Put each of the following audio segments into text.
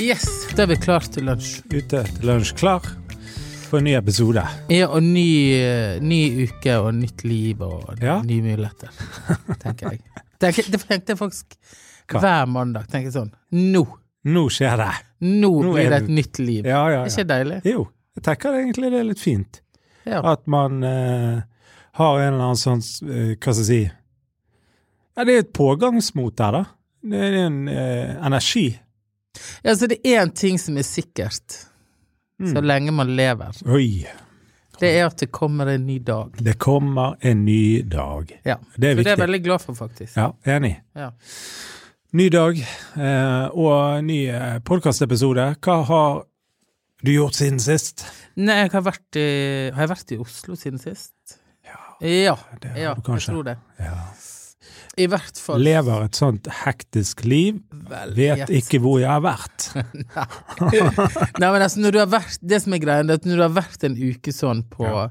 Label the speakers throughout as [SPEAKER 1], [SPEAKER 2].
[SPEAKER 1] Yes, da er vi klare til lunsj.
[SPEAKER 2] Ute til lunsj klar for en ny episode.
[SPEAKER 1] Ja, og ny, eh, ny uke og nytt liv og
[SPEAKER 2] Ja.
[SPEAKER 1] nye muligheter, tenker jeg. Det, er- det tenkte jeg faktisk
[SPEAKER 2] Hva?
[SPEAKER 1] hver mandag. tenker jeg sånn. Nå!
[SPEAKER 2] Nå skjer det!
[SPEAKER 1] Nå, blir det
[SPEAKER 2] er det-
[SPEAKER 1] et nytt liv.
[SPEAKER 2] Ja, ja,
[SPEAKER 1] Er
[SPEAKER 2] ja.
[SPEAKER 1] ikke deilig?
[SPEAKER 2] Jo, jeg tenker egentlig det er litt fint.
[SPEAKER 1] Ja.
[SPEAKER 2] At man eh, har en eller annen sånn eh, Hva skal jeg si ja, Det er et pågangsmot der, da. Det er en eh, energi.
[SPEAKER 1] Ja, så det er én ting som er sikkert så
[SPEAKER 2] Mm.
[SPEAKER 1] lenge man lever.
[SPEAKER 2] Oi!
[SPEAKER 1] Det er at det kommer en ny dag.
[SPEAKER 2] Det kommer en ny dag.
[SPEAKER 1] Ja. så
[SPEAKER 2] Det er
[SPEAKER 1] det er jeg
[SPEAKER 2] viktig.
[SPEAKER 1] veldig glad for, faktisk.
[SPEAKER 2] Ja, enig.
[SPEAKER 1] Ja.
[SPEAKER 2] Ny dag eh, og ny eh, podkastepisode. Hva har du gjort siden sist?
[SPEAKER 1] Nei, jeg har vært i, har jeg vært i Oslo siden sist? Ja.
[SPEAKER 2] det har
[SPEAKER 1] ja jeg
[SPEAKER 2] du kanskje.
[SPEAKER 1] tror det.
[SPEAKER 2] Ja.
[SPEAKER 1] I hvert fall
[SPEAKER 2] Lever et sånt hektisk liv. Vet
[SPEAKER 1] vet.
[SPEAKER 2] ikke hvor jeg har vært.
[SPEAKER 1] Nei, men altså, når du har vært, det som er greia, det er at når du har vært en uke sånn på
[SPEAKER 2] Ja.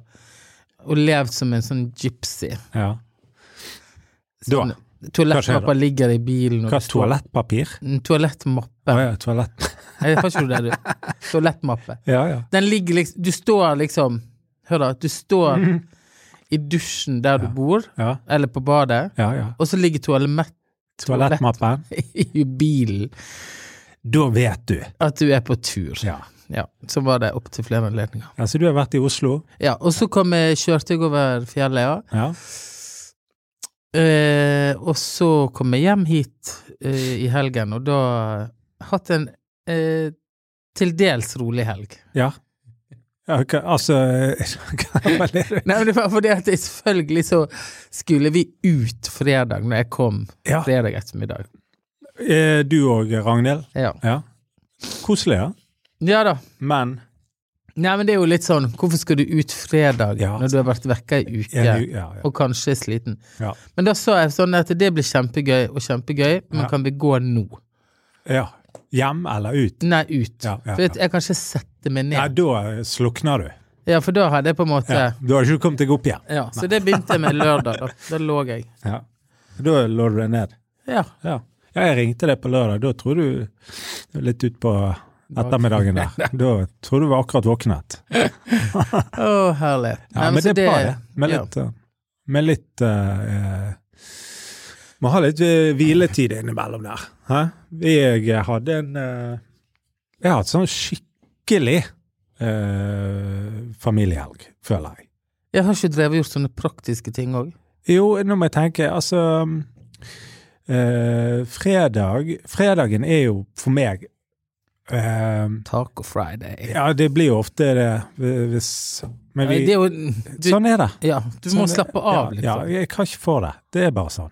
[SPEAKER 1] Og levd som en sånn gypsy
[SPEAKER 2] Ja. Da.
[SPEAKER 1] Sånn,
[SPEAKER 2] Hva skjer da?
[SPEAKER 1] Toalettmappa ligger i bilen. og
[SPEAKER 2] Hva,
[SPEAKER 1] du står-
[SPEAKER 2] toalettpapir?
[SPEAKER 1] Mm, Toalettmappe.
[SPEAKER 2] Å ja, toalett.
[SPEAKER 1] Jeg har ikke det, du. Toalettmappe.
[SPEAKER 2] Ja, ja.
[SPEAKER 1] Den ligger liksom Du står liksom Hør, da. Du står i dusjen der du bor,
[SPEAKER 2] Mhm. ja,
[SPEAKER 1] eller på badet,
[SPEAKER 2] ja, ja.
[SPEAKER 1] og så ligger toalett
[SPEAKER 2] Toalettmappen.
[SPEAKER 1] i bilen.
[SPEAKER 2] Da vet du.
[SPEAKER 1] At du er på tur.
[SPEAKER 2] Ja.
[SPEAKER 1] Ja, så var det opp til flere anledninger.
[SPEAKER 2] Altså, du har vært i Oslo.
[SPEAKER 1] Ja, og så kom jeg, kjørte jeg over fjellet, ja.
[SPEAKER 2] Ja.
[SPEAKER 1] Eh, og så kom jeg hjem hit eh, i helgen, og da hatt en eh, til dels rolig helg.
[SPEAKER 2] ja. ja ok, altså hva var det?
[SPEAKER 1] Nei, men det var fordi at jeg selvfølgelig så skulle vi ut fredag når jeg kom
[SPEAKER 2] Ja.
[SPEAKER 1] fredag ettermiddag.
[SPEAKER 2] eh, Du og Ragnhild.
[SPEAKER 1] Ja,
[SPEAKER 2] Ja. Koselig, ja.
[SPEAKER 1] ja da.
[SPEAKER 2] Men
[SPEAKER 1] Nei, men det er jo litt sånn, hvorfor skal du ut fredag
[SPEAKER 2] Ja.
[SPEAKER 1] når du har vært vekka ei uke?
[SPEAKER 2] ja, ja, ja.
[SPEAKER 1] Og kanskje er sliten.
[SPEAKER 2] Ja.
[SPEAKER 1] Men da sa jeg sånn at det blir kjempegøy og kjempegøy, men
[SPEAKER 2] Ja.
[SPEAKER 1] kan vi gå nå?
[SPEAKER 2] ja. Hjem eller ut?
[SPEAKER 1] Nei, ut.
[SPEAKER 2] Ja, ja,
[SPEAKER 1] For at jeg kan ikke sette meg
[SPEAKER 2] Ja,
[SPEAKER 1] ned.
[SPEAKER 2] da slukner du.
[SPEAKER 1] Ja, for da hadde jeg på en måte
[SPEAKER 2] Ja. Da har du ikke kommet deg opp igjen.
[SPEAKER 1] Ja, så det begynte jeg med lørdag, da. Da lå jeg.
[SPEAKER 2] Ja. Da lå du deg ned.
[SPEAKER 1] Ja.
[SPEAKER 2] Ja. ja, jeg ringte deg på lørdag. Da tror du det var litt ut på ettermiddagen der. Da tror du var akkurat våknet.
[SPEAKER 1] Å, herlighet.
[SPEAKER 2] Ja, men det er bra, det. Med litt, eh, med litt eh, eh, Må ha litt eh, hviletid innimellom der. Hæ? Jeg hadde en eh, Jeg har hatt sånn skikkelig eh, familiehelg, føler jeg.
[SPEAKER 1] Jeg har ikke drevet og gjort sånne praktiske ting òg.
[SPEAKER 2] Jo, nå må jeg tenke, altså eh, Fredag Fredagen er jo for meg eh,
[SPEAKER 1] Taco Friday.
[SPEAKER 2] Ja, det blir jo ofte det eh, hvis Men
[SPEAKER 1] Nei,
[SPEAKER 2] vi
[SPEAKER 1] det er jo du,
[SPEAKER 2] Sånn er det.
[SPEAKER 1] Ja, du må
[SPEAKER 2] Sånn er-
[SPEAKER 1] slappe av,
[SPEAKER 2] Ja,
[SPEAKER 1] liksom.
[SPEAKER 2] ja, jeg kan ikke få det. Det er bare sånn.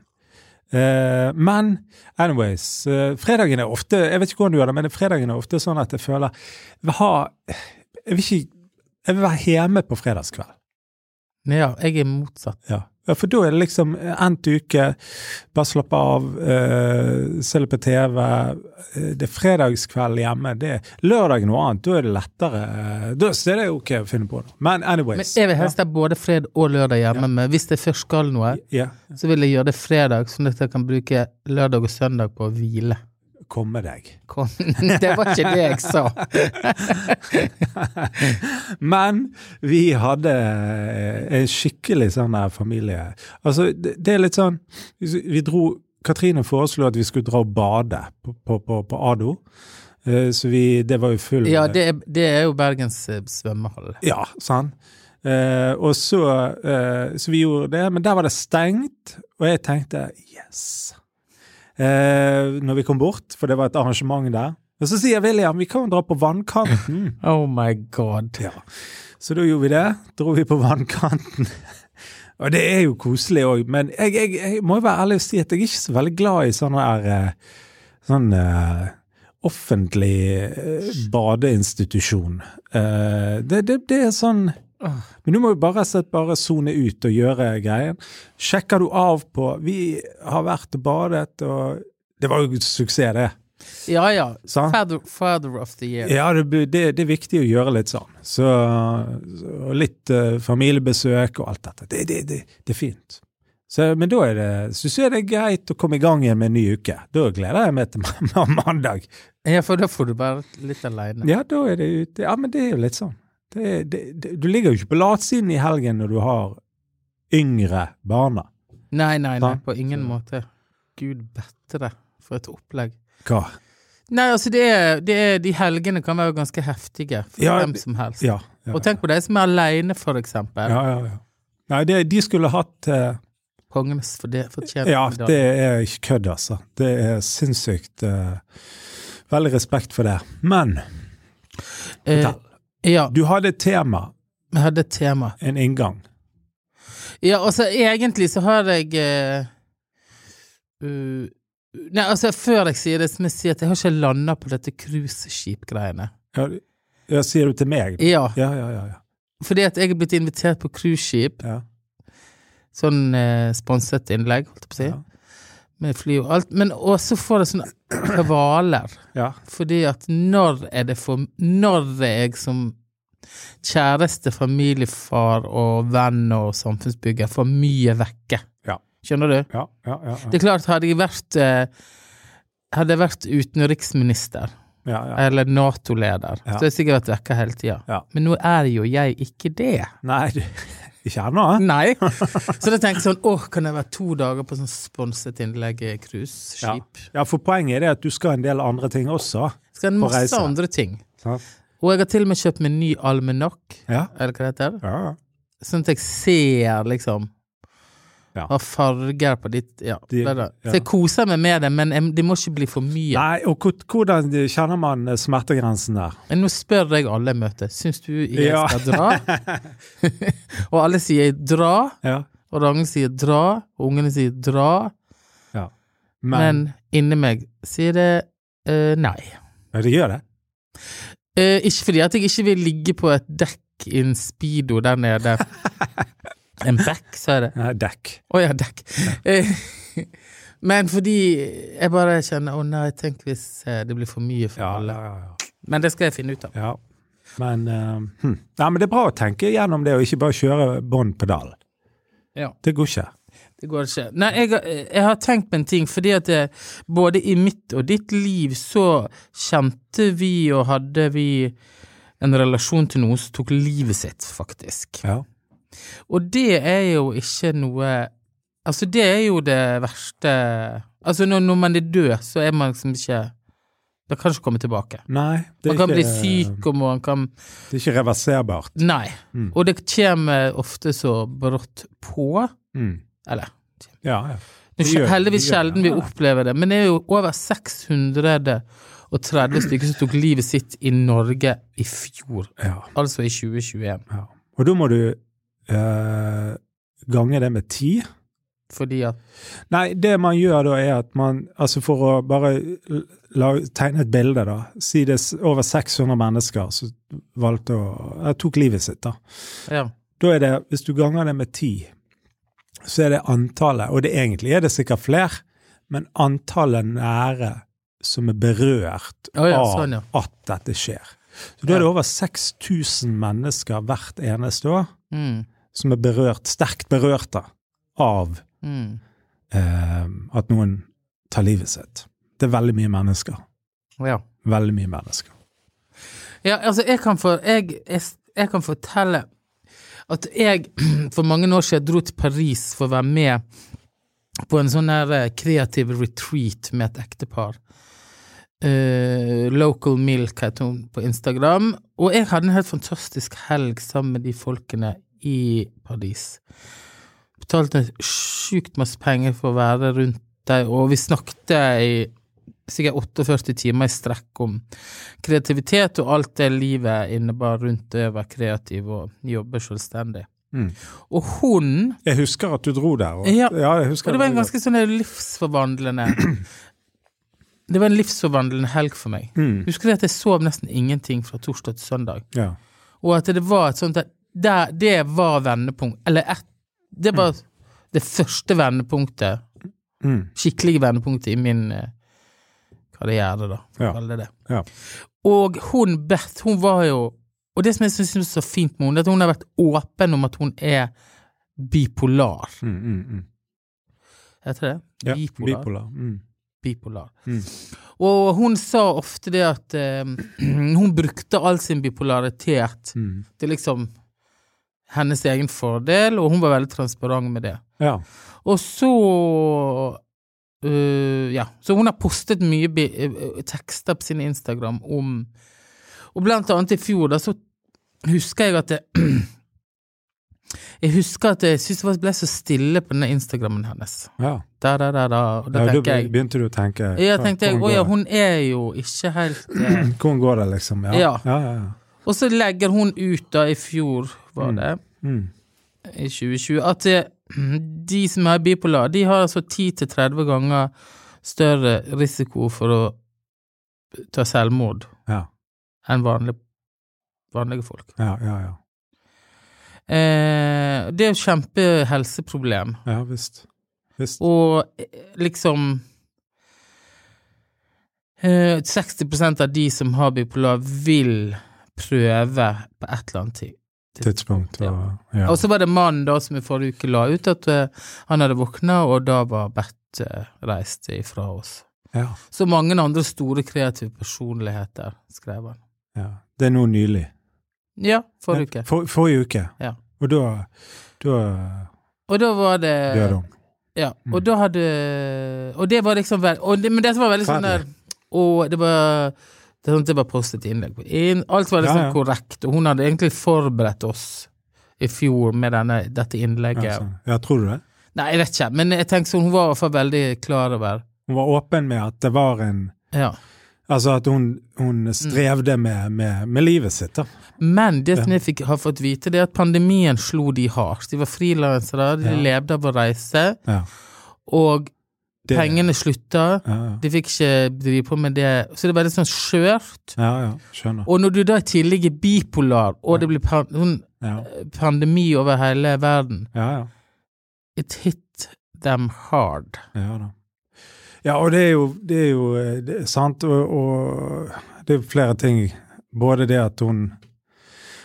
[SPEAKER 2] Eh, men anyways, eh, fredagen er ofte Jeg vet ikke hvordan du gjør det, men fredagen er ofte sånn at jeg føler jeg vil ha, Jeg vil ikke Jeg vil være hjemme på fredagskveld.
[SPEAKER 1] Nei, ja, jeg er motsatt.
[SPEAKER 2] Ja. ja, for da er det liksom eh, endt uke, bare slappe av, uh, se litt på TV. eh, Det er fredagskveld hjemme. det er Lørdag noe annet, da er det lettere. eh, Da så er det ok å finne på noe. Men
[SPEAKER 1] Men
[SPEAKER 2] anyways.
[SPEAKER 1] jeg vil helst ha både fred og lørdag hjemme, men hvis jeg først skal noe,
[SPEAKER 2] ja,
[SPEAKER 1] så vil jeg gjøre det fredag, sånn at jeg kan bruke lørdag og søndag på å hvile.
[SPEAKER 2] komme deg.
[SPEAKER 1] Kom. Det var ikke det jeg sa.
[SPEAKER 2] Men vi hadde eh, en skikkelig sånn her familie. Altså, det, det er litt sånn Vi dro Katrine foreslo at vi skulle dra og bade på, på, på, på Ado. Eh, Så vi Det var jo full
[SPEAKER 1] Ja, det er, det er jo Bergens eh, svømmehall.
[SPEAKER 2] Ja, sant. Eh, og så, eh, så vi gjorde det, men der var det stengt, og jeg tenkte yes. Eh, når vi kom bort, for det var et arrangement der. Og så sier William vi kan jo dra på vannkanten.
[SPEAKER 1] Oh my god.
[SPEAKER 2] ja. Så da gjorde vi det. Dro vi på vannkanten. og det er jo koselig òg, men jeg, jeg, jeg må jo være ærlig og si at jeg er ikke så veldig glad i sånne der eh, sånn eh, offentlig eh, badeinstitusjon. Eh, det, det, det er sånn men du må jo bare sett bare sone ut og gjøre greien. Sjekker du av på Vi har vært og badet, og Det var jo suksess, det.
[SPEAKER 1] Ja ja.
[SPEAKER 2] Sant?
[SPEAKER 1] Father, father of the year.
[SPEAKER 2] Ja, det, blir- det, det er viktig å gjøre litt sånn. Så, så og litt eh, familiebesøk og alt dette. Det, det, det, det er fint. Så, men da er det, syns jeg det er greit å komme i gang igjen med en ny uke. Da gleder jeg meg til mandag.
[SPEAKER 1] Ja, for da får du bare litt aleine.
[SPEAKER 2] Ja, da er det ute. Ja, men det er jo litt sånn. Det, det, det, du ligger jo ikke på latsiden i helgen når du har yngre barna.
[SPEAKER 1] Nei, nei, nei,
[SPEAKER 2] Nei.
[SPEAKER 1] på ingen måte. Gud bette det, for et opplegg.
[SPEAKER 2] Hva?
[SPEAKER 1] Nei, altså, det er, det er, de helgene kan være ganske heftige for
[SPEAKER 2] Ja,
[SPEAKER 1] hvem
[SPEAKER 2] det-
[SPEAKER 1] som helst.
[SPEAKER 2] Ja. ja.
[SPEAKER 1] Og tenk på de som er aleine, for eksempel.
[SPEAKER 2] Ja, ja, ja. Nei, det, de skulle hatt eh,
[SPEAKER 1] Kongens for det fortjener
[SPEAKER 2] Ja,
[SPEAKER 1] medalje.
[SPEAKER 2] det er ikke kødd, altså. Det er sinnssykt eh, Veldig respekt for det. Men
[SPEAKER 1] Eh,
[SPEAKER 2] fortell.
[SPEAKER 1] ja,
[SPEAKER 2] du hadde et tema,
[SPEAKER 1] vi hadde et tema.
[SPEAKER 2] en inngang.
[SPEAKER 1] Ja, altså egentlig så har jeg eh, uh, Nei, altså før jeg sier det, så må jeg si at jeg har ikke landa på dette cruiseskip-greiene.
[SPEAKER 2] Ja, du- ja, sier du til meg? da?
[SPEAKER 1] Ja,
[SPEAKER 2] Ja, ja, ja. ja.
[SPEAKER 1] fordi at jeg er blitt invitert på cruiseskip,
[SPEAKER 2] ja.
[SPEAKER 1] sånn eh, sponset innlegg, holdt jeg på å si,
[SPEAKER 2] Ja.
[SPEAKER 1] med fly og alt, men også får jeg sånne kvaler.
[SPEAKER 2] ja.
[SPEAKER 1] Fordi at når er det for Når er jeg som kjæreste, familiefar og venn og samfunnsbygger for mye vekke?
[SPEAKER 2] Ja.
[SPEAKER 1] Skjønner du?
[SPEAKER 2] Ja, ja, ja, ja.
[SPEAKER 1] Det er klart, hadde jeg vært eh, Hadde jeg vært utenriksminister
[SPEAKER 2] ja, ja.
[SPEAKER 1] eller Nato-leder, så
[SPEAKER 2] Ja.
[SPEAKER 1] hadde jeg sikkert vært vekka hele tida.
[SPEAKER 2] Ja.
[SPEAKER 1] Men nå er jo jeg ikke det.
[SPEAKER 2] Nei, du, ikke ennå? eh?
[SPEAKER 1] Nei. Så da tenker jeg sånn Åh, kan jeg være to dager på sånn sponset innlegg i cruiseskip?
[SPEAKER 2] Ja, for poenget er det at du skal en del andre ting også.
[SPEAKER 1] Skal en
[SPEAKER 2] På
[SPEAKER 1] masse
[SPEAKER 2] reise.
[SPEAKER 1] andre ting.
[SPEAKER 2] Sant?
[SPEAKER 1] Og jeg har til og med kjøpt meg ny almanakk,
[SPEAKER 2] Ja.
[SPEAKER 1] eller hva det heter.
[SPEAKER 2] ja. ja.
[SPEAKER 1] Sånn at jeg ser, liksom.
[SPEAKER 2] Ja.
[SPEAKER 1] Har farger på ditt Ja.
[SPEAKER 2] De-
[SPEAKER 1] det er det.
[SPEAKER 2] ja.
[SPEAKER 1] Så jeg koser meg med det, men jeg- det må ikke bli for mye.
[SPEAKER 2] Nei, og hvor- hvordan kjenner man eh, smertegrensen der?
[SPEAKER 1] Men nå spør jeg alle jeg møter, syns du jeg
[SPEAKER 2] Ja.
[SPEAKER 1] skal dra? og alle sier dra,
[SPEAKER 2] Ja.
[SPEAKER 1] og Ragnhild sier dra, og ungene sier dra,
[SPEAKER 2] ja. Men,
[SPEAKER 1] men, inni meg sier det eh, nei.
[SPEAKER 2] Ja, det gjør det.
[SPEAKER 1] Eh, ikke fordi at jeg ikke vil ligge på et dekk i en speedo der nede. en bekk, sa jeg det.
[SPEAKER 2] Nei, dekk.
[SPEAKER 1] Å ja, dekk. Eh, men fordi jeg bare kjenner å nei, tenk hvis eh, det blir for mye for
[SPEAKER 2] Ja,
[SPEAKER 1] alle.
[SPEAKER 2] ja, ja. ja.
[SPEAKER 1] Men det skal jeg finne ut av.
[SPEAKER 2] Ja. Men, eh, hm. Nei, men det er bra å tenke gjennom det, og ikke bare kjøre bånn pedal.
[SPEAKER 1] Ja.
[SPEAKER 2] Det går ikke.
[SPEAKER 1] Det går ikke. Nei, jeg, jeg har tenkt på en ting, fordi at det, både i mitt og ditt liv så kjente vi og hadde vi en relasjon til noen som tok livet sitt, faktisk.
[SPEAKER 2] Ja.
[SPEAKER 1] Og det er jo ikke noe Altså, det er jo det verste Altså, når, når man er død, så er man liksom ikke Da kan man ikke komme tilbake.
[SPEAKER 2] Nei, det er,
[SPEAKER 1] Man kan
[SPEAKER 2] ikke,
[SPEAKER 1] bli syk, og man kan
[SPEAKER 2] det er ikke reverserbart.
[SPEAKER 1] Nei.
[SPEAKER 2] Mm.
[SPEAKER 1] Og det kommer ofte så brått på.
[SPEAKER 2] Mm.
[SPEAKER 1] Eller
[SPEAKER 2] Ja, ja.
[SPEAKER 1] Det
[SPEAKER 2] Det gjør-
[SPEAKER 1] er heldigvis
[SPEAKER 2] det gjør det.
[SPEAKER 1] sjelden vi opplever det, men det er jo over 630 stykker som tok livet sitt i Norge i fjor,
[SPEAKER 2] ja.
[SPEAKER 1] altså i 2021,
[SPEAKER 2] ja. Og da må du eh, gange det med ti.
[SPEAKER 1] fordi at
[SPEAKER 2] Nei, det man gjør da er at man, altså for å bare l- la, tegne et bilde da, si det er over 600 mennesker som valgte å, eller tok livet sitt da.
[SPEAKER 1] Ja.
[SPEAKER 2] Da er det, hvis du ganger det med 10, så er det antallet, og det egentlig er det sikkert flere, men antallet nære som er berørt
[SPEAKER 1] Å ja,
[SPEAKER 2] av
[SPEAKER 1] sånn, ja.
[SPEAKER 2] at dette skjer. Så da er det over 6000 mennesker hvert eneste år
[SPEAKER 1] Mm,
[SPEAKER 2] som er berørt, sterkt berørt da, av
[SPEAKER 1] mm.
[SPEAKER 2] eh, at noen tar livet sitt. Det er veldig mye mennesker.
[SPEAKER 1] Ja.
[SPEAKER 2] Veldig mye mennesker.
[SPEAKER 1] ja, altså, jeg kan, for, jeg, jeg, jeg kan fortelle at jeg for mange år siden dro til Paris for å være med på en sånn her eh, kreativ retreat med et ektepar. Eh, Local Milk heter hun på Instagram. Og jeg hadde en helt fantastisk helg sammen med de folkene i Paris. Betalte sjukt masse penger for å være rundt dem, og vi snakket i sikkert 48 timer i strekk om kreativitet og alt det livet innebar rundt det å være kreativ og jobbe selvstendig.
[SPEAKER 2] Mm.
[SPEAKER 1] Og hun
[SPEAKER 2] Jeg husker at du dro der. Og,
[SPEAKER 1] Ja.
[SPEAKER 2] jeg husker
[SPEAKER 1] og det var en
[SPEAKER 2] veldig
[SPEAKER 1] ganske sånn der livsforvandlende Det var en livsforvandlende helg for meg.
[SPEAKER 2] godt. mm.
[SPEAKER 1] Husker du at jeg sov nesten ingenting fra torsdag til søndag?
[SPEAKER 2] ja.
[SPEAKER 1] Og at det var et sånt der, der Det var vendepunkt. Eller et Det var det første vendepunktet,
[SPEAKER 2] Mm.
[SPEAKER 1] skikkelige vendepunktet i min eh, karriere, da, for
[SPEAKER 2] Ja.
[SPEAKER 1] å kalle det det.
[SPEAKER 2] Ja.
[SPEAKER 1] Og hun Beth, hun var jo Og det som jeg syns er så fint med henne, er at hun har vært åpen om at hun er bipolar.
[SPEAKER 2] Mm, mm, mm.
[SPEAKER 1] Heter det?
[SPEAKER 2] Ja,
[SPEAKER 1] Bipolar.
[SPEAKER 2] bipolar. Mm.
[SPEAKER 1] bipolar.
[SPEAKER 2] Mm.
[SPEAKER 1] Og hun sa ofte det at eh, hun brukte all sin bipolaritet
[SPEAKER 2] Mm.
[SPEAKER 1] til liksom hennes egen fordel, og hun var veldig transparent med det.
[SPEAKER 2] Ja.
[SPEAKER 1] Og så øh, Ja. Så hun har postet mye bi øh, tekster på sin Instagram om Og blant annet i fjor, da, så husker jeg at det Jeg husker at jeg syntes det var- ble så stille på denne Instagrammen hennes.
[SPEAKER 2] ja.
[SPEAKER 1] Da, da, da, da. Og da
[SPEAKER 2] ja da
[SPEAKER 1] tenker jeg
[SPEAKER 2] begynte du å tenke
[SPEAKER 1] ja,
[SPEAKER 2] hva-
[SPEAKER 1] tenkte jeg,
[SPEAKER 2] hvordan
[SPEAKER 1] å ja,
[SPEAKER 2] går det?
[SPEAKER 1] hun er jo ikke helt eh,
[SPEAKER 2] Hvordan går det, liksom? Ja.
[SPEAKER 1] Ja.
[SPEAKER 2] ja, ja, ja.
[SPEAKER 1] Og så legger hun ut, da, i fjor, var
[SPEAKER 2] Mm.
[SPEAKER 1] det,
[SPEAKER 2] Mm.
[SPEAKER 1] i 2020, at eh, de som er bipolar, de har altså 10-30 ganger større risiko for å ta selvmord
[SPEAKER 2] ja.
[SPEAKER 1] enn vanlig, vanlige folk.
[SPEAKER 2] Ja, ja, ja.
[SPEAKER 1] Eh, det er jo kjempehelseproblem,
[SPEAKER 2] Ja visst. Visst.
[SPEAKER 1] og eh, liksom eh, 60 av de som har bipolar, vil prøve på et eller annet ting.
[SPEAKER 2] Tidspunkt og ja.
[SPEAKER 1] Og så var det mannen da som i forrige uke la ut at eh, han hadde våkna, og da var Bert eh, reist ifra oss.
[SPEAKER 2] ja.
[SPEAKER 1] Så mange andre store kreative personligheter, skrev han.
[SPEAKER 2] ja. Det er nå nylig.
[SPEAKER 1] Ja, forrige uke.
[SPEAKER 2] For, forrige uke.
[SPEAKER 1] Ja.
[SPEAKER 2] Og da, da
[SPEAKER 1] Og da var det
[SPEAKER 2] døde hun.
[SPEAKER 1] Ja,
[SPEAKER 2] Mm.
[SPEAKER 1] og da hadde Og det var liksom vel, og det, Men det som var veldig sånn der Og det var det, var- det var postet innlegg på inn, Alt var liksom
[SPEAKER 2] Ja, ja.
[SPEAKER 1] korrekt, og hun hadde egentlig forberedt oss i fjor med denne, dette innlegget.
[SPEAKER 2] Ja, sånn. ja, tror du det?
[SPEAKER 1] Nei, jeg vet ikke, men jeg tenker sånn, hun var i hvert fall veldig klar over
[SPEAKER 2] Hun var åpen med at det var en
[SPEAKER 1] Ja.
[SPEAKER 2] Altså at hun, hun strevde med, med, med livet sitt, da.
[SPEAKER 1] Men det som jeg fikk, har fått vite, det er at pandemien slo de hardt. De var frilansere, de
[SPEAKER 2] Ja.
[SPEAKER 1] levde av å reise,
[SPEAKER 2] Ja.
[SPEAKER 1] og
[SPEAKER 2] Det-
[SPEAKER 1] pengene slutta.
[SPEAKER 2] Ja, ja.
[SPEAKER 1] De fikk ikke drive på med det. Så det er veldig sånn skjørt.
[SPEAKER 2] ja, ja. Skjønner.
[SPEAKER 1] Og når du da i tillegg er bipolar, og det blir pan sånn
[SPEAKER 2] Ja,
[SPEAKER 1] pandemi over hele verden
[SPEAKER 2] ja. ja.
[SPEAKER 1] It hit them hard.
[SPEAKER 2] Ja da. Ja, og det er jo, det er jo eh, det er sant, og, og det er flere ting. Både det at hun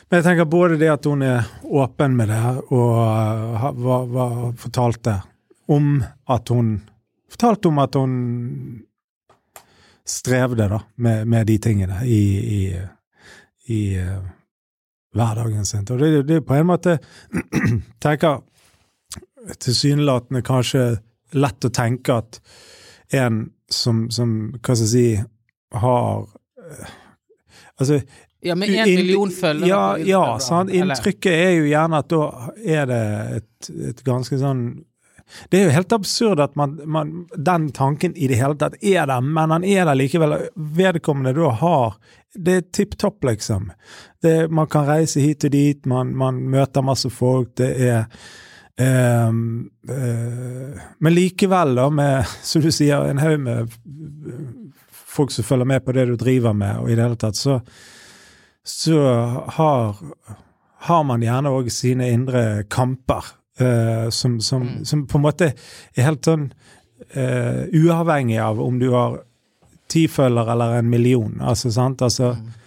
[SPEAKER 2] Men jeg tenker både det at hun er åpen med det her, og eh, ha- hva, hva fortalte om at hun Fortalte om at hun strevde da, med, med de tingene i, i, i eh, hverdagen sin. Og det, er jo- det er på en måte tenker tilsynelatende kanskje lett å tenke at en som, som hva skal jeg si, har eh, Altså
[SPEAKER 1] Ja, med én
[SPEAKER 2] inn-
[SPEAKER 1] million følgere
[SPEAKER 2] Ja,
[SPEAKER 1] på Instagram,
[SPEAKER 2] ja sant?
[SPEAKER 1] eller-
[SPEAKER 2] Inntrykket er jo gjerne at da er det et, et ganske sånn Det er jo helt absurd at man, man, den tanken i det hele tatt er der, men han er der likevel. Vedkommende da har Det er tipp topp, liksom. Det, man kan reise hit og dit, man, man møter masse folk, det er Ehm, eh, men likevel, da, med som du sier, en haug med folk som følger med på det du driver med, og i det hele tatt, så, så har, har man gjerne òg sine indre kamper, eh, som, som,
[SPEAKER 1] Mm.
[SPEAKER 2] som på en måte er helt sånn eh, uavhengig av om du har ti følgere eller en million, altså, sant? Altså ehm, og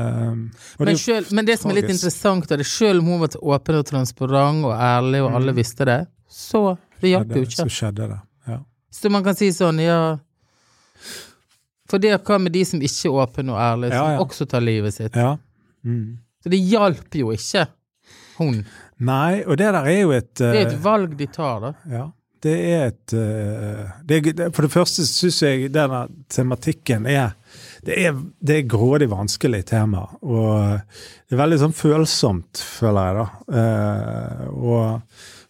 [SPEAKER 1] Mm. Men,
[SPEAKER 2] det-
[SPEAKER 1] selv, men det som er litt
[SPEAKER 2] tragisk.
[SPEAKER 1] interessant, er det selv om hun var åpen og transparent og ærlig, og alle visste det, så det hjalp jo ikke.
[SPEAKER 2] Så skjedde Mm. det. Ja.
[SPEAKER 1] Så man kan si sånn, ja For det hva med de som ikke er åpne og ærlige, som
[SPEAKER 2] Ja, ja.
[SPEAKER 1] også tar livet sitt?
[SPEAKER 2] ja. Mm.
[SPEAKER 1] Så det hjalp jo ikke hun.
[SPEAKER 2] Nei, og det der er jo et
[SPEAKER 1] Det er
[SPEAKER 2] eh,
[SPEAKER 1] et valg de tar, da.
[SPEAKER 2] Ja, det er et eh, det, det- For det første syns jeg denne tematikken er det, er det er grådig vanskelig tema, og det er veldig sånn følsomt, føler jeg, da. eh, Å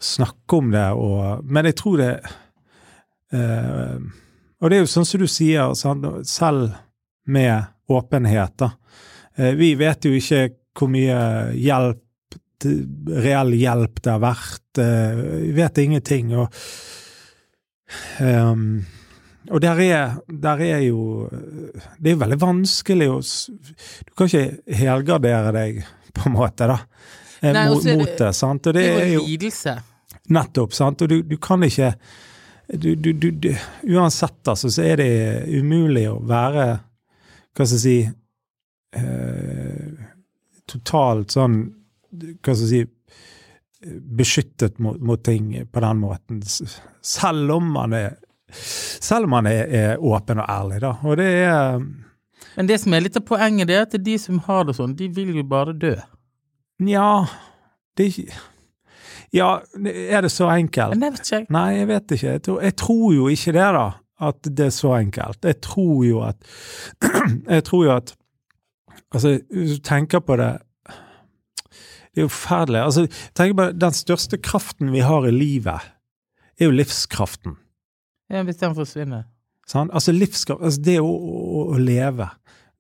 [SPEAKER 2] snakke om det og Men jeg tror det eh, Og det er jo sånn som du sier, sant, selv med åpenhet, da. Eh, Vi vet jo ikke hvor mye hjelp t- reell hjelp det har vært. eh, Vi vet ingenting. Og, ehm, og der er, der er jo eh, Det er jo veldig vanskelig å s- Du kan ikke helgardere deg, på en måte, da. eh,
[SPEAKER 1] Nei, og
[SPEAKER 2] mot,
[SPEAKER 1] så er det-
[SPEAKER 2] mot det, sant. Og
[SPEAKER 1] Det
[SPEAKER 2] det
[SPEAKER 1] er
[SPEAKER 2] er
[SPEAKER 1] jo
[SPEAKER 2] jo
[SPEAKER 1] en lidelse.
[SPEAKER 2] Nettopp, sant. Og du, du kan ikke du, du, du, du, Uansett, altså, så er det umulig å være Hva skal jeg si eh, Totalt sånn Hva skal jeg si beskyttet mot, mot ting på den måten, s- selv om man er, selv om man er, er åpen og ærlig. Da. Og det er
[SPEAKER 1] Men det som er litt av poenget, det er at de som har det sånn, de vil jo bare dø.
[SPEAKER 2] Nja det, er ikke- Ja, er det så enkelt?
[SPEAKER 1] Men det vet ikke jeg.
[SPEAKER 2] Nei, jeg vet ikke. Jeg tror, jeg tror jo ikke det, da. At det er så enkelt. Jeg tror jo at Jeg tror jo at Altså, hvis du tenker på det Det er jo forferdelig. Altså, tenk på den største kraften vi har i livet, er jo livskraften.
[SPEAKER 1] Ja, Hvis den forsvinner.
[SPEAKER 2] Sant? Altså livskraft, altså det å, å, å leve,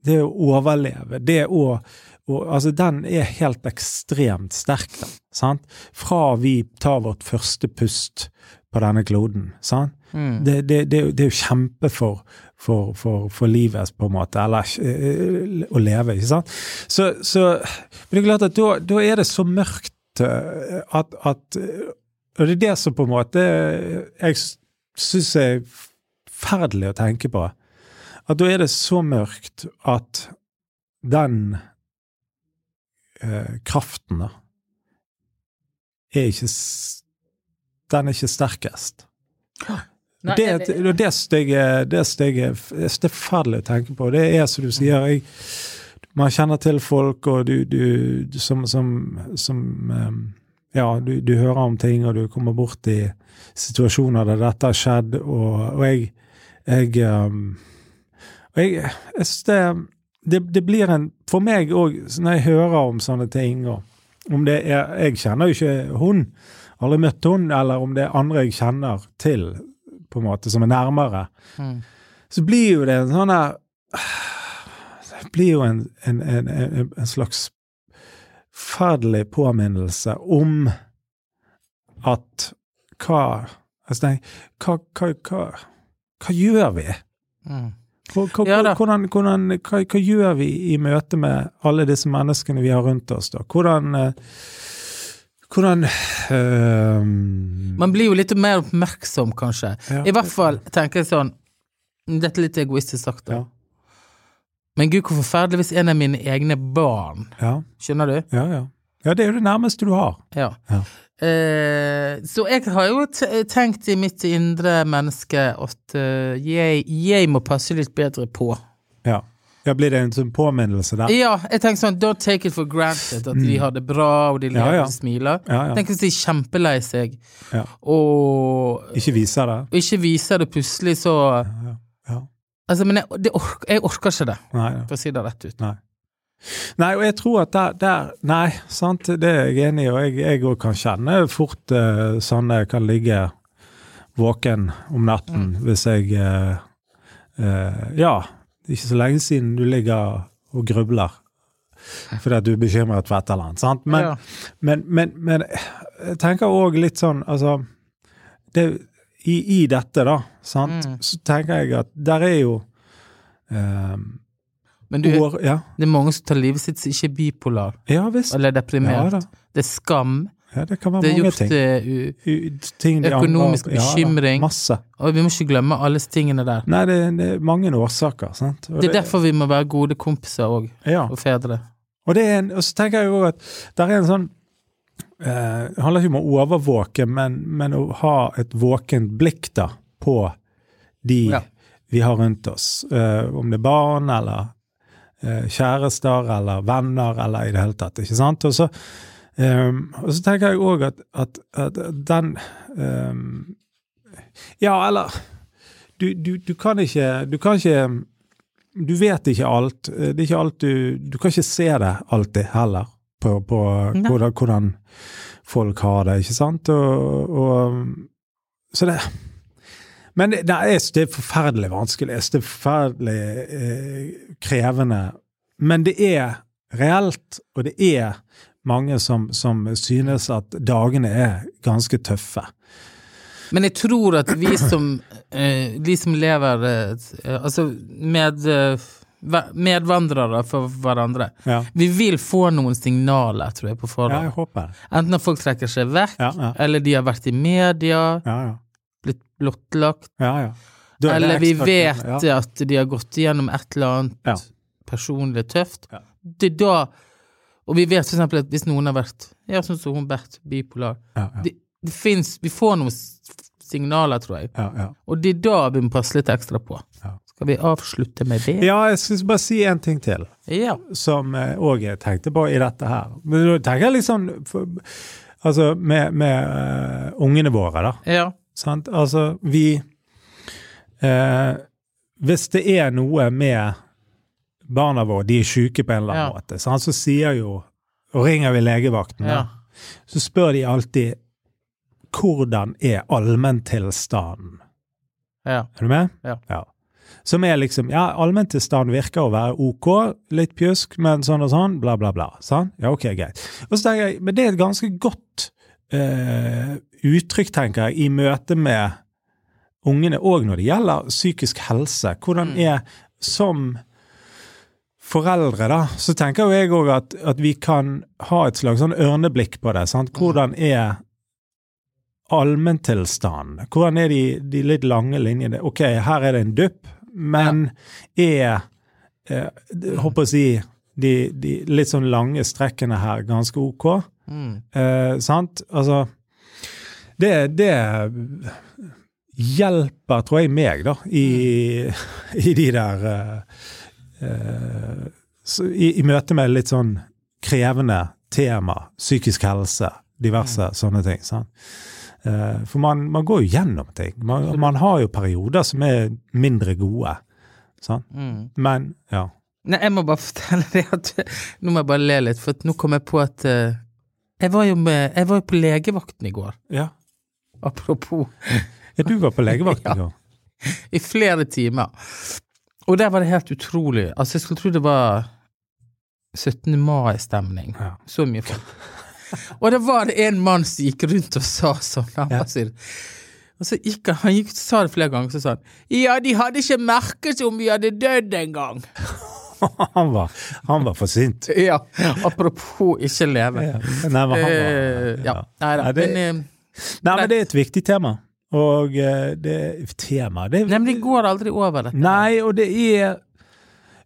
[SPEAKER 2] det å overleve, det å, å Altså den er helt ekstremt sterk, da. Sant? Fra vi tar vårt første pust på denne kloden, sant.
[SPEAKER 1] Mm.
[SPEAKER 2] Det, det, det, er jo- det er jo kjempe for, for, for, for livet, på en måte, eller eh, å leve, ikke sant. Så, så Men det er klart at da, da er det så mørkt eh, at, at eh, Og det er det som på en måte eh, jeg s- syns er forferdelig å tenke på. At da er det så mørkt at den eh, kraften, da, er ikke s- Den er ikke sterkest.
[SPEAKER 1] Nei,
[SPEAKER 2] det,
[SPEAKER 1] jeg-
[SPEAKER 2] det, det stygge Det stygge Det er forferdelig å tenke på. Det er som du sier, jeg, man kjenner til folk, og du, du, du som, som, som em, Ja, du, du hører om ting, og du kommer bort i situasjoner der dette har skjedd, og, og jeg Jeg, em, og jeg, jeg synes det, det Det blir en For meg òg, når jeg hører om sånne ting og om det er, Jeg kjenner jo ikke hun, aldri møtt hun, eller om det er andre jeg kjenner til, på en måte, som er nærmere,
[SPEAKER 1] Mm.
[SPEAKER 2] så blir jo det en sånn der Det blir jo en, en, en, en, en slags forferdelig påminnelse om at hva Altså, nei, hva, hva, hva, hva gjør vi?
[SPEAKER 1] Mm.
[SPEAKER 2] Hva, hva,
[SPEAKER 1] Ja da.
[SPEAKER 2] hvordan, hvordan, hva, hva gjør vi i møte med alle disse menneskene vi har rundt oss, da? Hvordan eh, Hvordan eh,
[SPEAKER 1] Man blir jo litt mer oppmerksom, kanskje.
[SPEAKER 2] Ja.
[SPEAKER 1] I hvert fall tenker jeg sånn Dette er litt egoistisk sagt, da.
[SPEAKER 2] Ja.
[SPEAKER 1] Men gud, hvor forferdelig hvis en av mine egne barn
[SPEAKER 2] ja,
[SPEAKER 1] Skjønner du?
[SPEAKER 2] ja, ja. Ja, det er jo det nærmeste du har.
[SPEAKER 1] Ja.
[SPEAKER 2] Ja.
[SPEAKER 1] Eh, så jeg har jo t tenkt i mitt indre menneske at eh, jeg, jeg må passe litt bedre på.
[SPEAKER 2] Ja. ja blir det en sånn påminnelse der?
[SPEAKER 1] Ja, jeg tenker sånn Don't take it for granted at de har det bra, og de
[SPEAKER 2] Mm. Ja,
[SPEAKER 1] ler
[SPEAKER 2] ja.
[SPEAKER 1] og smiler.
[SPEAKER 2] Ja, ja.
[SPEAKER 1] Tenk hvis de er kjempelei seg,
[SPEAKER 2] Ja.
[SPEAKER 1] og,
[SPEAKER 2] Ikke viser det?
[SPEAKER 1] og ikke viser det plutselig, så
[SPEAKER 2] Ja. ja.
[SPEAKER 1] Altså, men jeg, det ork, jeg orker ikke det,
[SPEAKER 2] Nei, ja.
[SPEAKER 1] for å si det rett ut.
[SPEAKER 2] nei. Nei, og jeg tror at der, der Nei, sant, det er jeg enig i, og jeg- jeg òg kan kjenne fort eh, sånn jeg kan ligge våken om natten
[SPEAKER 1] Mm.
[SPEAKER 2] hvis jeg eh, eh, Ja, det er ikke så lenge siden du ligger og grubler fordi at du er bekymret for et eller annet. sant? Men,
[SPEAKER 1] ja.
[SPEAKER 2] Men, men, men jeg tenker òg litt sånn Altså det, i, I dette, da, sant,
[SPEAKER 1] Mm.
[SPEAKER 2] så tenker jeg at der er jo eh,
[SPEAKER 1] Men du,
[SPEAKER 2] år, ja,
[SPEAKER 1] det er mange som tar livet sitt som ikke er bipolar
[SPEAKER 2] ja visst.
[SPEAKER 1] eller
[SPEAKER 2] Ja,
[SPEAKER 1] deprimert.
[SPEAKER 2] da.
[SPEAKER 1] Det er skam.
[SPEAKER 2] Ja, det kan være
[SPEAKER 1] Det er
[SPEAKER 2] mange
[SPEAKER 1] gjort
[SPEAKER 2] ting.
[SPEAKER 1] eh, u-
[SPEAKER 2] U- ting de
[SPEAKER 1] økonomisk
[SPEAKER 2] angrer- ja, da,
[SPEAKER 1] bekymring.
[SPEAKER 2] masse.
[SPEAKER 1] Og vi må ikke glemme alle tingene der.
[SPEAKER 2] Nei, det, det er mange årsaker. sant? Og
[SPEAKER 1] Det er derfor vi må være gode kompiser òg,
[SPEAKER 2] ja.
[SPEAKER 1] og fedre.
[SPEAKER 2] Og, det er en, og så tenker jeg òg at der er en sånn eh, Det handler ikke om å overvåke, men, men å ha et våkent blikk da, på de
[SPEAKER 1] Ja.
[SPEAKER 2] vi har rundt oss. Eh, om det er barn eller eh, kjærester eller venner eller i det hele tatt. ikke sant? Og så, ehm, og så tenker jeg òg at, at, at den ehm, Ja, eller du, du, du kan ikke Du kan ikke du vet ikke alt. Eh, Det er ikke alt du, du kan ikke se det alltid heller, på, på
[SPEAKER 1] Nei.
[SPEAKER 2] hvordan, hvordan folk har det, ikke sant? Og, og, mm, så det Men det, nei, jeg synes det er forferdelig vanskelig. Jeg synes det er forferdelig eh, krevende. Men det er reelt, og det er mange som, som synes at dagene er ganske tøffe.
[SPEAKER 1] Men jeg tror at vi som, eh, de som lever eh, eh, Altså med, eh, ve- medvandrere for hverandre
[SPEAKER 2] Ja,
[SPEAKER 1] Vi vil få noen signaler, tror jeg, på
[SPEAKER 2] ja
[SPEAKER 1] forhånd.
[SPEAKER 2] jeg håper det.
[SPEAKER 1] Enten at folk trekker seg vekk,
[SPEAKER 2] Ja, ja.
[SPEAKER 1] eller de har vært i media,
[SPEAKER 2] Ja, ja.
[SPEAKER 1] blitt blottlagt,
[SPEAKER 2] ja, ja. Da er det
[SPEAKER 1] eller vi
[SPEAKER 2] ekstra-
[SPEAKER 1] vet
[SPEAKER 2] ja.
[SPEAKER 1] at de har gått igjennom et eller annet
[SPEAKER 2] Ja.
[SPEAKER 1] personlig tøft.
[SPEAKER 2] Ja.
[SPEAKER 1] Det er da Og vi vet for eksempel at hvis noen har vært Ja, sånn som hun Bert, bipolar
[SPEAKER 2] Ja, ja,
[SPEAKER 1] Det, det fins Vi får noen s- signaler, tror jeg.
[SPEAKER 2] ja, ja.
[SPEAKER 1] Og det er da vi må passe litt ekstra på.
[SPEAKER 2] Ja.
[SPEAKER 1] Skal vi avslutte med det?
[SPEAKER 2] ja, jeg skal bare si en ting til.
[SPEAKER 1] Ja.
[SPEAKER 2] som òg jeg tenkte på i dette her. Men da tenker jeg litt sånn for, Altså med, med eh, ungene våre, da.
[SPEAKER 1] Ja.
[SPEAKER 2] Sant? Altså, vi eh, Hvis det er noe med barna våre, de er syke på en eller annen
[SPEAKER 1] Ja.
[SPEAKER 2] måte, sant? så sier jo Og ringer vi legevakten, da,
[SPEAKER 1] ja.
[SPEAKER 2] så spør de alltid hvordan er allmenntilstanden?
[SPEAKER 1] ja.
[SPEAKER 2] Er du med?
[SPEAKER 1] Ja.
[SPEAKER 2] Som er liksom Ja, allmenntilstand virker å være ok, litt pjusk, men sånn og sånn, bla, bla, bla. Sånn? Ja, ok, greit. Og så tenker jeg, men det er et ganske godt eh, uttrykk, tenker jeg, i møte med ungene òg når det gjelder psykisk helse. Hvordan er som foreldre, da, så tenker jo jeg òg at, at vi kan ha et slags sånn ørneblikk på det. sant? Hvordan er allmenntilstanden? Hvordan er de, de litt lange linjene? Ok, her er det en dupp, men er eh, det- Håper å si de, de litt sånn lange strekkene her ganske ok?
[SPEAKER 1] Mm.
[SPEAKER 2] Eh, sant? Altså det, det hjelper, tror jeg, meg, da, i, i de der eh, eh, så, i, I møte med litt sånn krevende tema, psykisk helse, diverse sånne ting. Sant? Eh, for man, man går jo gjennom ting. Man, man har jo perioder som er mindre gode. Sant?
[SPEAKER 1] Mm.
[SPEAKER 2] Men ja.
[SPEAKER 1] Nei, jeg må bare fortelle det at Nå må jeg bare le litt, for at nå kom jeg på at eh, jeg var, jo med, jeg var jo på legevakten i går,
[SPEAKER 2] ja.
[SPEAKER 1] apropos,
[SPEAKER 2] Ja, Du var på legevakt i går.
[SPEAKER 1] i flere timer. Og der var det helt utrolig. Altså, jeg skulle tro det var 17. mai-stemning.
[SPEAKER 2] Ja.
[SPEAKER 1] Så mye folk. Og det var det en mann som gikk rundt og sa sånn. Han,
[SPEAKER 2] Ja.
[SPEAKER 1] bare sier, og så gikk han, han gikk, sa det flere ganger, så sa han Ja, de hadde ikke merket om vi hadde dødd engang.
[SPEAKER 2] Han var, han var for sint.
[SPEAKER 1] Ja, apropos ikke leve.
[SPEAKER 2] Ja. Nei, men han var,
[SPEAKER 1] Eh, ja. Nei da.
[SPEAKER 2] Nei, det-
[SPEAKER 1] men, eh,
[SPEAKER 2] Nei, men det er et viktig tema. Og eh, det tema det,
[SPEAKER 1] nei, men det går aldri over, dette.
[SPEAKER 2] Nei, og det er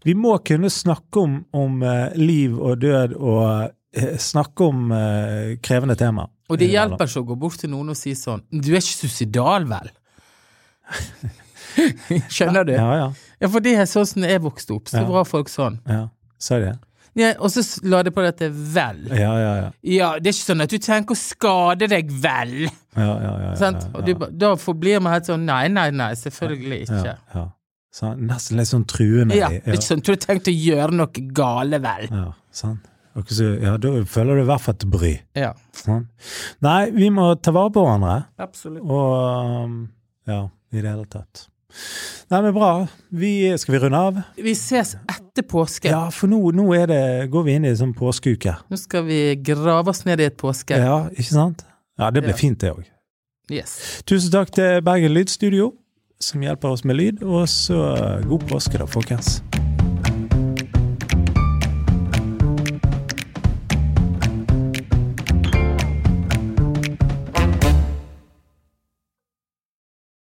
[SPEAKER 2] Vi må kunne snakke om, om eh, liv og død og eh, snakke om eh, krevende tema.
[SPEAKER 1] Og det hjelper ikke å gå bort til noen og si sånn Du er ikke suicidal, vel? Skjønner du?
[SPEAKER 2] Ja,
[SPEAKER 1] Ja.
[SPEAKER 2] ja.
[SPEAKER 1] for det er sånn som jeg vokste opp, så
[SPEAKER 2] Ja.
[SPEAKER 1] var folk sånn.
[SPEAKER 2] ja. Sa jeg det?
[SPEAKER 1] Ja, og så s- la de på dette 'vel'.
[SPEAKER 2] Ja, ja, ja.
[SPEAKER 1] Ja, det er ikke sånn at du tenker å skade deg, vel?
[SPEAKER 2] ja, ja, ja, ja,
[SPEAKER 1] Sant?
[SPEAKER 2] ja,
[SPEAKER 1] Og du, ba- da forblir man helt sånn Nei, nei, nei, selvfølgelig
[SPEAKER 2] ja,
[SPEAKER 1] ikke.
[SPEAKER 2] ja. Så nesten litt sånn truende.
[SPEAKER 1] Ja, det er ikke sånn Du har tenkt å gjøre noe gale, vel?
[SPEAKER 2] ja, sånn. Og så, ja, da føler du i hvert fall et bry.
[SPEAKER 1] Ja.
[SPEAKER 2] Sånn. Nei, vi må ta vare på hverandre.
[SPEAKER 1] Absolutt.
[SPEAKER 2] Og um, ja, i det hele tatt. Nei, men bra. Vi, skal vi runde av?
[SPEAKER 1] Vi ses etter påske.
[SPEAKER 2] Ja, for nå, nå er det, går vi inn i en sånn påskeuke.
[SPEAKER 1] Nå skal vi grave oss ned i et påske.
[SPEAKER 2] Ja, ikke sant? Ja, det blir
[SPEAKER 1] Ja.
[SPEAKER 2] fint, det òg.
[SPEAKER 1] Yes.
[SPEAKER 2] Tusen takk til Bergen Lydstudio, som hjelper oss med lyd. Og så god påske, da, folkens.